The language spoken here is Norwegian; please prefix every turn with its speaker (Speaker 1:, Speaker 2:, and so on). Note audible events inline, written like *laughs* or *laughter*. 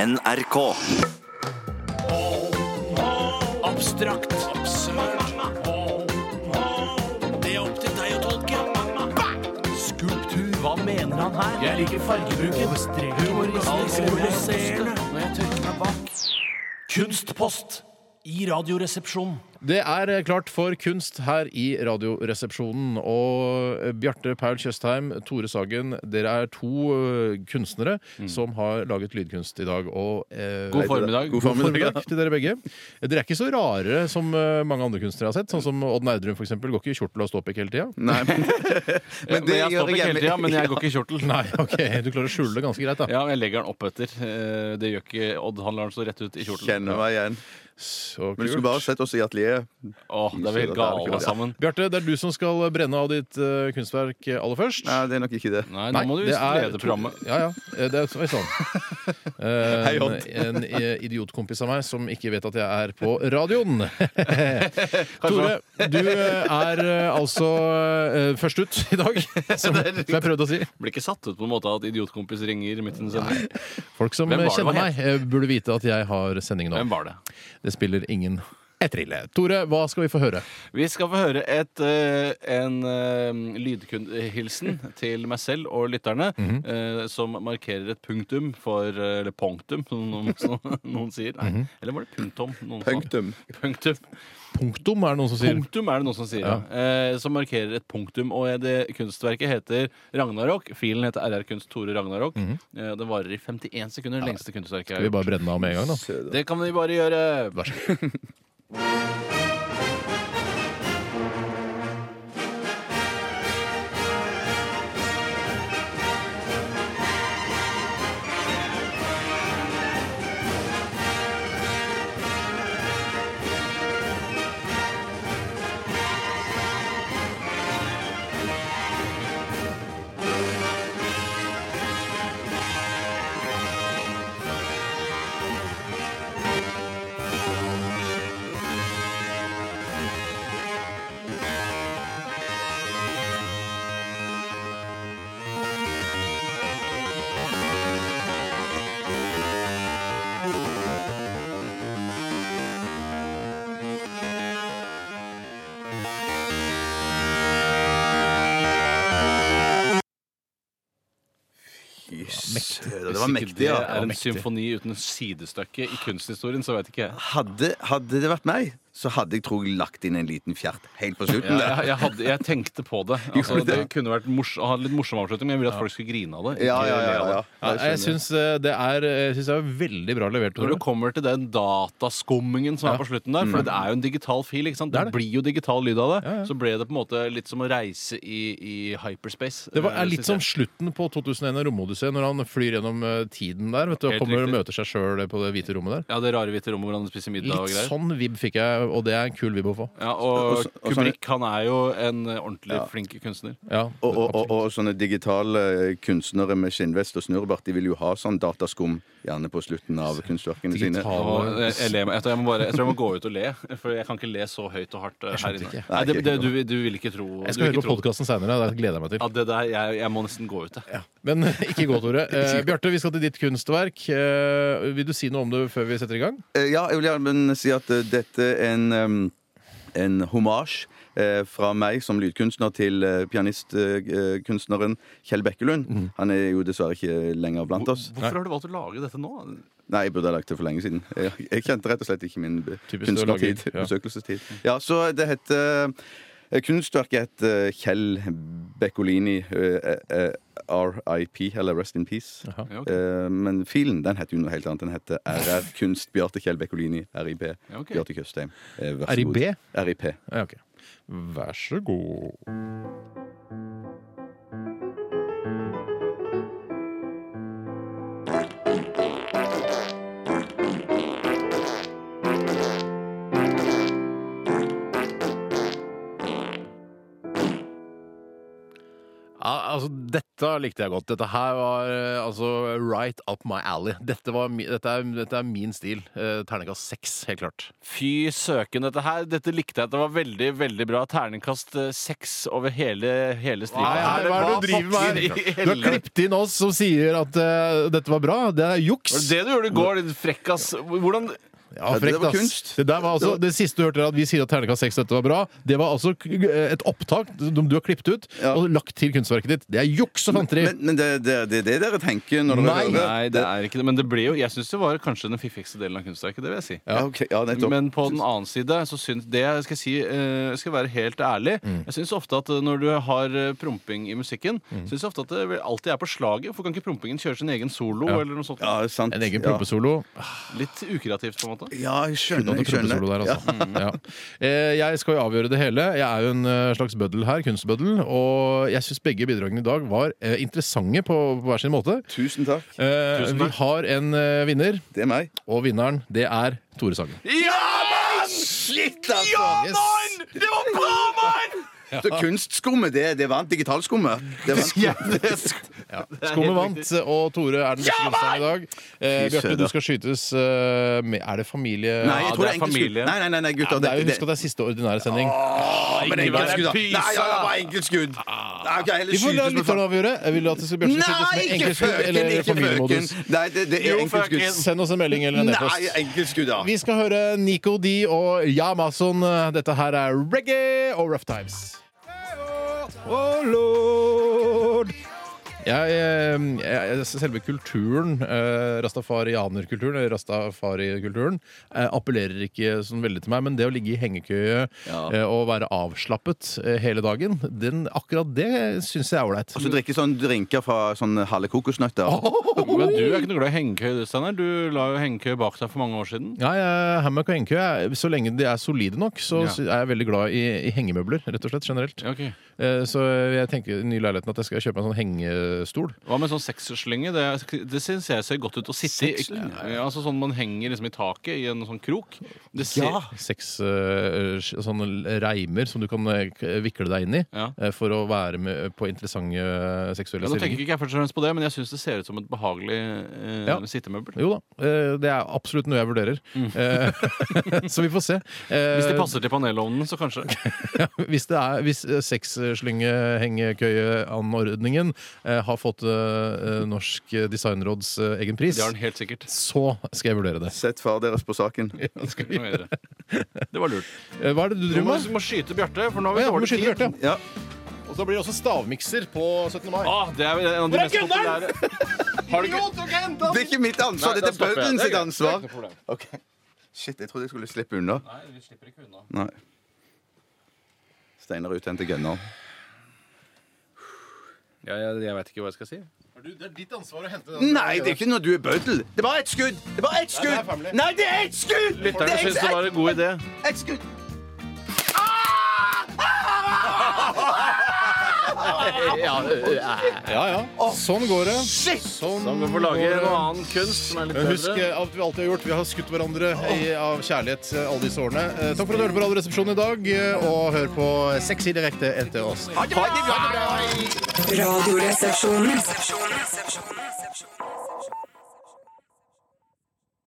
Speaker 1: NRK.
Speaker 2: Abstrakt. Absurd. Det er opp til deg å tolke. Skulptur, hva mener han her? Jeg liker fargebruken. Humoristiske. Kunstpost i Radioresepsjonen.
Speaker 3: Det er eh, klart for kunst her i Radioresepsjonen. Og Bjarte Paul Tjøstheim, Tore Sagen, dere er to ø, kunstnere
Speaker 4: Mm.
Speaker 3: som har laget lydkunst i dag. Og, eh,
Speaker 5: God formiddag.
Speaker 3: God
Speaker 4: *laughs*
Speaker 3: formiddag til dere begge. Dere er ikke så rare som ø, mange andre kunstnere jeg har sett. Sånn som Odd Nerdrum, for eksempel Går ikke i kjortel og ståpikk hele tida.
Speaker 5: Nei, men, men
Speaker 4: det
Speaker 5: jeg
Speaker 4: gjør
Speaker 5: står
Speaker 4: jeg
Speaker 5: ikke hele
Speaker 4: hjemme.
Speaker 5: tida, men jeg
Speaker 4: *laughs*
Speaker 5: går ikke i kjortel.
Speaker 3: *laughs* Nei, ok, du klarer å skjule det ganske greit, da.
Speaker 5: Ja, men jeg legger den opp etter. Eh, Det gjør ikke Odd. Han lar den stå rett ut i kjortel.
Speaker 4: Kjenner meg igjen.
Speaker 3: Så
Speaker 4: Men du skulle bare
Speaker 3: kult.
Speaker 4: sett oss i atelieret.
Speaker 5: Åh, det er vi helt
Speaker 4: Det er ikke
Speaker 5: gale
Speaker 4: det.
Speaker 5: sammen.
Speaker 3: Bjarte, det er du som skal brenne av ditt ø, kunstverk aller først.
Speaker 4: Nei, det er nok ikke det.
Speaker 5: Nei, nå må du
Speaker 3: det
Speaker 5: visst
Speaker 3: er
Speaker 5: lede programmet.
Speaker 3: Ja, ja. Eh, Det er oi,
Speaker 5: *laughs*
Speaker 3: sånn. Eh,
Speaker 4: Hei, Odd.
Speaker 3: en eh, idiotkompis av meg som ikke vet at jeg er på radioen. *laughs* Tore, du eh, er eh, altså eh, først ut i
Speaker 5: *laughs*
Speaker 3: dag, som, som jeg prøvde å si.
Speaker 5: Blir ikke satt ut på en måte at idiotkompis ringer midt i en sending.
Speaker 3: Folk som
Speaker 5: Hvem var det
Speaker 3: kjenner
Speaker 5: det var?
Speaker 3: meg, eh, burde vite at jeg har sending nå.
Speaker 5: Hvem var det?
Speaker 3: Det spiller ingen etrille. Tore, hva skal vi få høre?
Speaker 5: Vi skal få høre et, eh, en eh, lydhilsen til meg selv og lytterne,
Speaker 4: Mhm.
Speaker 5: eh, som markerer et punktum for eh, Eller punktum, som noen, som *laughs* noen sier. Nei. Eller var det punktum? Noen sa.
Speaker 4: Mhm. Punktum.
Speaker 5: Punktum.
Speaker 3: Punktum, er det noen som sier.
Speaker 5: Punktum er det noen som sier.
Speaker 3: Ja.
Speaker 5: Eh, som markerer et punktum. Og det kunstverket heter Ragnarok. Filen heter RR Kunst Tore Ragnarok. eh, det varer i 51 sekunder. det Lengste kunstverket jeg har
Speaker 3: Skal vi
Speaker 5: gjort.
Speaker 3: bare brenne av med en gang, da?
Speaker 5: Det kan vi bare gjøre.
Speaker 3: Vær så god.
Speaker 4: Jøss. Det var mektig,
Speaker 5: Det er
Speaker 4: ja.
Speaker 5: en symfoni uten sidestykke i kunsthistorien, så veit ikke jeg.
Speaker 4: Hadde, hadde det vært meg, så hadde jeg tror jeg lagt inn en liten fjert helt på
Speaker 5: Ja,
Speaker 4: slutten. der.
Speaker 5: jeg, jeg, hadde, jeg tenkte på det. Altså, det kunne vært mors å ha en litt morsom avslutning, men jeg ville at folk skulle grine av det. ikke
Speaker 4: Ja, ja, ja,
Speaker 5: le av
Speaker 4: ja.
Speaker 5: det.
Speaker 3: Ja, jeg syns eh, det er jeg synes det er veldig bra levert,
Speaker 5: Når
Speaker 3: Tore.
Speaker 5: du kommer til den dataskummingen som
Speaker 3: Ja. Mm.
Speaker 5: er på slutten der, for det er jo en digital fil, ikke sant?
Speaker 3: Det
Speaker 5: det
Speaker 3: er det.
Speaker 5: blir jo digital lyd av det,
Speaker 3: Ja, ja.
Speaker 5: så ble det på en måte litt som å reise i, i hyperspace.
Speaker 3: Det var, er
Speaker 5: eh,
Speaker 3: litt
Speaker 5: synes
Speaker 3: som
Speaker 5: jeg.
Speaker 3: slutten på 2001 og Romodysseen, når han flyr gjennom eh, tiden der vet du, og
Speaker 5: Helt
Speaker 3: kommer og
Speaker 5: riktig.
Speaker 3: møter seg sjøl på det hvite rommet der.
Speaker 5: Ja, det rare hvite rommet hvor han spiser middag og
Speaker 3: Litt
Speaker 5: greier.
Speaker 3: sånn vib fikk jeg, og det er en kul vib å få.
Speaker 5: Ja, og,
Speaker 4: Og så- og så-
Speaker 5: Kubrick han er jo en eh, ordentlig flink kunstner.
Speaker 3: Ja,
Speaker 4: Og, og, og, og sånne digitale eh, kunstnere med skinnvest og snurrebart, de vil jo ha sånn dataskum gjerne på slutten av kunstverkene sine.
Speaker 3: Digital-
Speaker 5: Og jeg, jeg, ler meg- jeg, tror jeg, må bare, jeg tror jeg må gå ut og le, for jeg kan ikke le så høyt og hardt eh, her inne.
Speaker 3: skjønte ikke.
Speaker 5: Nei, det,
Speaker 4: Nei,
Speaker 5: det,
Speaker 4: ikke
Speaker 5: du, du vil ikke tro
Speaker 3: jeg
Speaker 5: du vil
Speaker 3: skal høre på
Speaker 5: ikke tro-
Speaker 3: podkasten seinere. Det gleder jeg meg
Speaker 5: Ja,
Speaker 3: til.
Speaker 5: det der, jeg, jeg må nesten gå ut, jeg.
Speaker 3: Men ikke gå,
Speaker 5: *laughs*
Speaker 3: Tore. Eh, Bjarte, vi skal til ditt kunstverk. Eh, vil du si noe om det før vi setter i gang?
Speaker 4: Eh, Ja, jeg vil gjerne si at eh, dette er en, em, en hommage eh, fra meg som lydkunstner til eh, pianistkunstneren eh, Kjell Bekkelund.
Speaker 3: Mhm.
Speaker 4: Han er jo dessverre ikke lenger blant oss.
Speaker 5: Hvorfor har du valgt å lage dette nå?
Speaker 4: Nei, jeg burde ha lagt det for lenge siden. Jeg, jeg kjente rett og slett ikke min be-
Speaker 3: Typisk å lage-
Speaker 4: kunstnertid.
Speaker 3: ja.
Speaker 4: Besøkelsestid. Ja, så det heter eh, Kunstverket heter eh, Kjell Bekkolini eh, eh, RIP, eller Rest in Peace.
Speaker 5: Ja, ok.
Speaker 4: Eh, Men filen den heter jo noe helt annet. Den heter RR Kunst Bjarte Kjell Bekkolini, RIB.
Speaker 5: Ja, ok.
Speaker 4: Bjarte Tjøstheim. Eh, Vær så god.
Speaker 3: RIB?
Speaker 4: RIP.
Speaker 3: Ja, ok. Vær så god. Ja, altså, dette Dette likte jeg godt. Dette her var eh, altså right up my alley. Dette, var, mi- dette, er, dette er min stil. Eh, Terningkast seks, helt klart.
Speaker 5: Fy søken, dette her Dette likte jeg. Det var veldig veldig bra. Terningkast eh, seks over hele, hele stripa.
Speaker 3: Hva er det du driver med
Speaker 5: Hva *laughs* i
Speaker 3: her? Du har
Speaker 5: helvete?
Speaker 3: klippet inn oss som sier at eh, dette var bra. Det er
Speaker 5: Var det
Speaker 3: juks.
Speaker 5: det du gjorde i går, din frekkas? Hvordan
Speaker 3: Ja,
Speaker 4: Ja, det
Speaker 3: frekt,
Speaker 4: var
Speaker 3: ass.
Speaker 4: kunst.
Speaker 3: Det, der var altså, det siste du hørte, er at vi sier at terningkast seks, dette var bra. Det var altså k- et opptak som du har klippet ut
Speaker 4: Ja.
Speaker 3: og lagt til kunstverket ditt. Det er juks og fanteri.
Speaker 4: Men, men det er det, det, er det dere tenker når dere
Speaker 3: Nei.
Speaker 4: hører
Speaker 5: Nei, det er ikke det. Men det ble jo, jeg syns det var kanskje den fiffigste delen av kunstverket. Det vil jeg si.
Speaker 4: Ja, ok, ja nettopp.
Speaker 5: Men på den annen side så syns det jeg skal si, eh, skal være helt ærlig
Speaker 3: Mm.
Speaker 5: Jeg syns ofte at eh, når du har eh, promping i musikken,
Speaker 3: Mm.
Speaker 5: syns jeg ofte at det vel alltid er på slaget. Hvorfor kan ikke prompingen kjøre sin egen solo eller noe sånt?
Speaker 4: ja, sant.
Speaker 3: En egen
Speaker 4: ja.
Speaker 3: prompesolo.
Speaker 5: Litt ukreativt, på en måte.
Speaker 4: ja, jeg skjønner.
Speaker 3: Noe
Speaker 4: Jeg skjønner.
Speaker 3: prompesolo der, altså. Ja. Eh, Jeg skal jo avgjøre det hele. Jeg er jo en eh, slags bøddel her, kunstbøddel. Og jeg syns begge bidragene i dag var eh, interessante på på hver sin måte.
Speaker 4: Tusen takk.
Speaker 3: Eh,
Speaker 5: Tusen
Speaker 3: Vi
Speaker 5: takk.
Speaker 3: har en eh, vinner,
Speaker 4: Det er meg.
Speaker 3: og vinneren det er Tore Sagen.
Speaker 5: Ja, mann!
Speaker 4: Shit, altså!
Speaker 3: Yes.
Speaker 5: Det var bra, mann!
Speaker 4: *laughs* Så kunstskummet, det, det vant. Digitalskummet.
Speaker 3: *laughs*
Speaker 4: Det vant.
Speaker 3: Skummet vant, og Tore er den beste kunstneren i dag. Eh,
Speaker 4: Fy
Speaker 3: Bjarte,
Speaker 4: søren.
Speaker 3: du skal skytes eh, med Er det familie...?
Speaker 4: Nei, jeg
Speaker 5: Ja, det er
Speaker 4: tror det er enkeltskudd.
Speaker 5: familie.
Speaker 4: Nei, nei, nei, nei, gutter.
Speaker 3: det er jo,
Speaker 4: dette-
Speaker 3: Husk at det er siste ordinære sending.
Speaker 4: Men
Speaker 5: Ikke vær
Speaker 4: enkeltskudd, da.
Speaker 5: pysa! Ah.
Speaker 4: Nei, ja, det var enkeltskudd. Nei, ok, heller
Speaker 3: Vi får sånn la
Speaker 4: skytes med
Speaker 3: lytterne avgjøre. Jeg vil du at det skal Bjarte skal skytes
Speaker 4: Nei,
Speaker 3: med
Speaker 4: ikke
Speaker 3: enkeltskudd
Speaker 4: frøken!
Speaker 3: eller
Speaker 4: Ikke frøken.
Speaker 3: familiemodus?
Speaker 4: Nei, det, det
Speaker 5: Jo,
Speaker 4: er enkeltskudd.
Speaker 5: frøken.
Speaker 3: Send oss en melding eller en
Speaker 4: Nei,
Speaker 3: e-post.
Speaker 4: enkeltskudd, da.
Speaker 3: Vi skal høre Nico D og Ja Mason. Dette her er reggae og Rough Times. Oh, lord. Jeg, eh, jeg, selve kulturen, eh, rastafarianerkulturen, eller rastafarikulturen, eh, appellerer ikke sånn veldig til meg. Men det å ligge i hengekøye
Speaker 4: Ja.
Speaker 3: eh, og være avslappet eh, hele dagen, den, akkurat det syns jeg er ålreit.
Speaker 4: Og så drikke sånn drinker fra sånn halve kokosnøtter.
Speaker 5: Men du er ikke noe glad i hengekøye, du, Steinar. Du la jo hengekøye bak deg for mange år siden.
Speaker 3: Nei, eh, hammock og hengekøye, er- så lenge de er solide nok, så
Speaker 5: Ja.
Speaker 3: sy- er jeg veldig glad i, i hengemøbler, rett og slett, generelt.
Speaker 5: Ja, ok.
Speaker 3: Eh, Så jeg tenker i den nye leiligheten at jeg skal kjøpe en sånn hengestol.
Speaker 5: Hva med sånn sekserslynge? Det, det syns jeg ser godt ut å sitte i. Ja, altså sånn Man henger liksom i taket i en sånn krok. Det ser,
Speaker 3: Seks eh, s- sånne reimer som du kan eh, k- vikle deg inn i
Speaker 5: Ja.
Speaker 3: eh, for å være med på interessante eh, seksuelle
Speaker 5: Ja, nå tenker
Speaker 3: stillinger.
Speaker 5: ikke jeg først og fremst på det, men jeg syns det ser ut som et behagelig eh,
Speaker 3: Ja.
Speaker 5: sittemøbel.
Speaker 3: Jo da, eh, det er absolutt noe jeg vurderer. Eh, *laughs* så vi får se. Eh,
Speaker 5: Hvis det passer til panelovnen, så kanskje.
Speaker 3: Hvis, det er, hvis eh, sexslyngehengekøyeanordningen eh, har fått eh, eh, Norsk designråds eh, egen pris,
Speaker 5: Det har den helt *laughs* sikkert.
Speaker 3: så skal jeg vurdere det.
Speaker 4: Sett far deres på saken.
Speaker 5: Sånn Skal vi gå videre? Det var lurt.
Speaker 3: Eh, Hva er det du
Speaker 5: Du må,
Speaker 3: driver med?
Speaker 5: vi må skyte Bjarte, for nå
Speaker 3: Å
Speaker 5: har vi
Speaker 3: ja, du må
Speaker 5: dårlig
Speaker 3: skyte
Speaker 5: tid.
Speaker 3: Bjarte.
Speaker 4: Ja.
Speaker 3: Og så blir det også stavmikser på 17. mai.
Speaker 5: Ah, det er vel en av de mest populære. Har du ikke
Speaker 4: Det er ikke mitt ansvar,
Speaker 5: Nei,
Speaker 4: dette
Speaker 5: da stopper jeg.
Speaker 4: er
Speaker 5: Det
Speaker 4: bøddelen
Speaker 5: er
Speaker 4: sitt
Speaker 5: greit.
Speaker 4: ansvar.
Speaker 5: Det er ikke noe problem.
Speaker 4: Ok. Shit, jeg trodde jeg skulle slippe unna.
Speaker 5: Nei, vi slipper ikke unna.
Speaker 4: Nei. Steinar ut hen til gunner.
Speaker 5: Ja, jeg, jeg veit ikke hva jeg skal si.
Speaker 3: Det er ditt ansvar å hente den.
Speaker 4: Nei, det er ikke når du er bøddel. Det var ett skudd! Det var ett
Speaker 3: det er
Speaker 4: skudd!
Speaker 3: family.
Speaker 4: Nei, det er ett skudd! Det
Speaker 5: Lytterne
Speaker 4: er
Speaker 5: syns det
Speaker 4: ett,
Speaker 5: var en god idé.
Speaker 4: ett skudd.
Speaker 3: Ja, ja. Sånn går det. Sånn
Speaker 5: Så vi får lage en annen kunst som er litt
Speaker 3: Men husk
Speaker 5: bedre.
Speaker 3: eh, at vi alltid har gjort Vi har skutt hverandre i, av kjærlighet eh, alle disse årene. Eh, Takk for at du hørte på Radioresepsjonen i dag, eh, og hør på Sexy direkte etter oss.
Speaker 4: Ha det bra!
Speaker 1: Radioresepsjonen.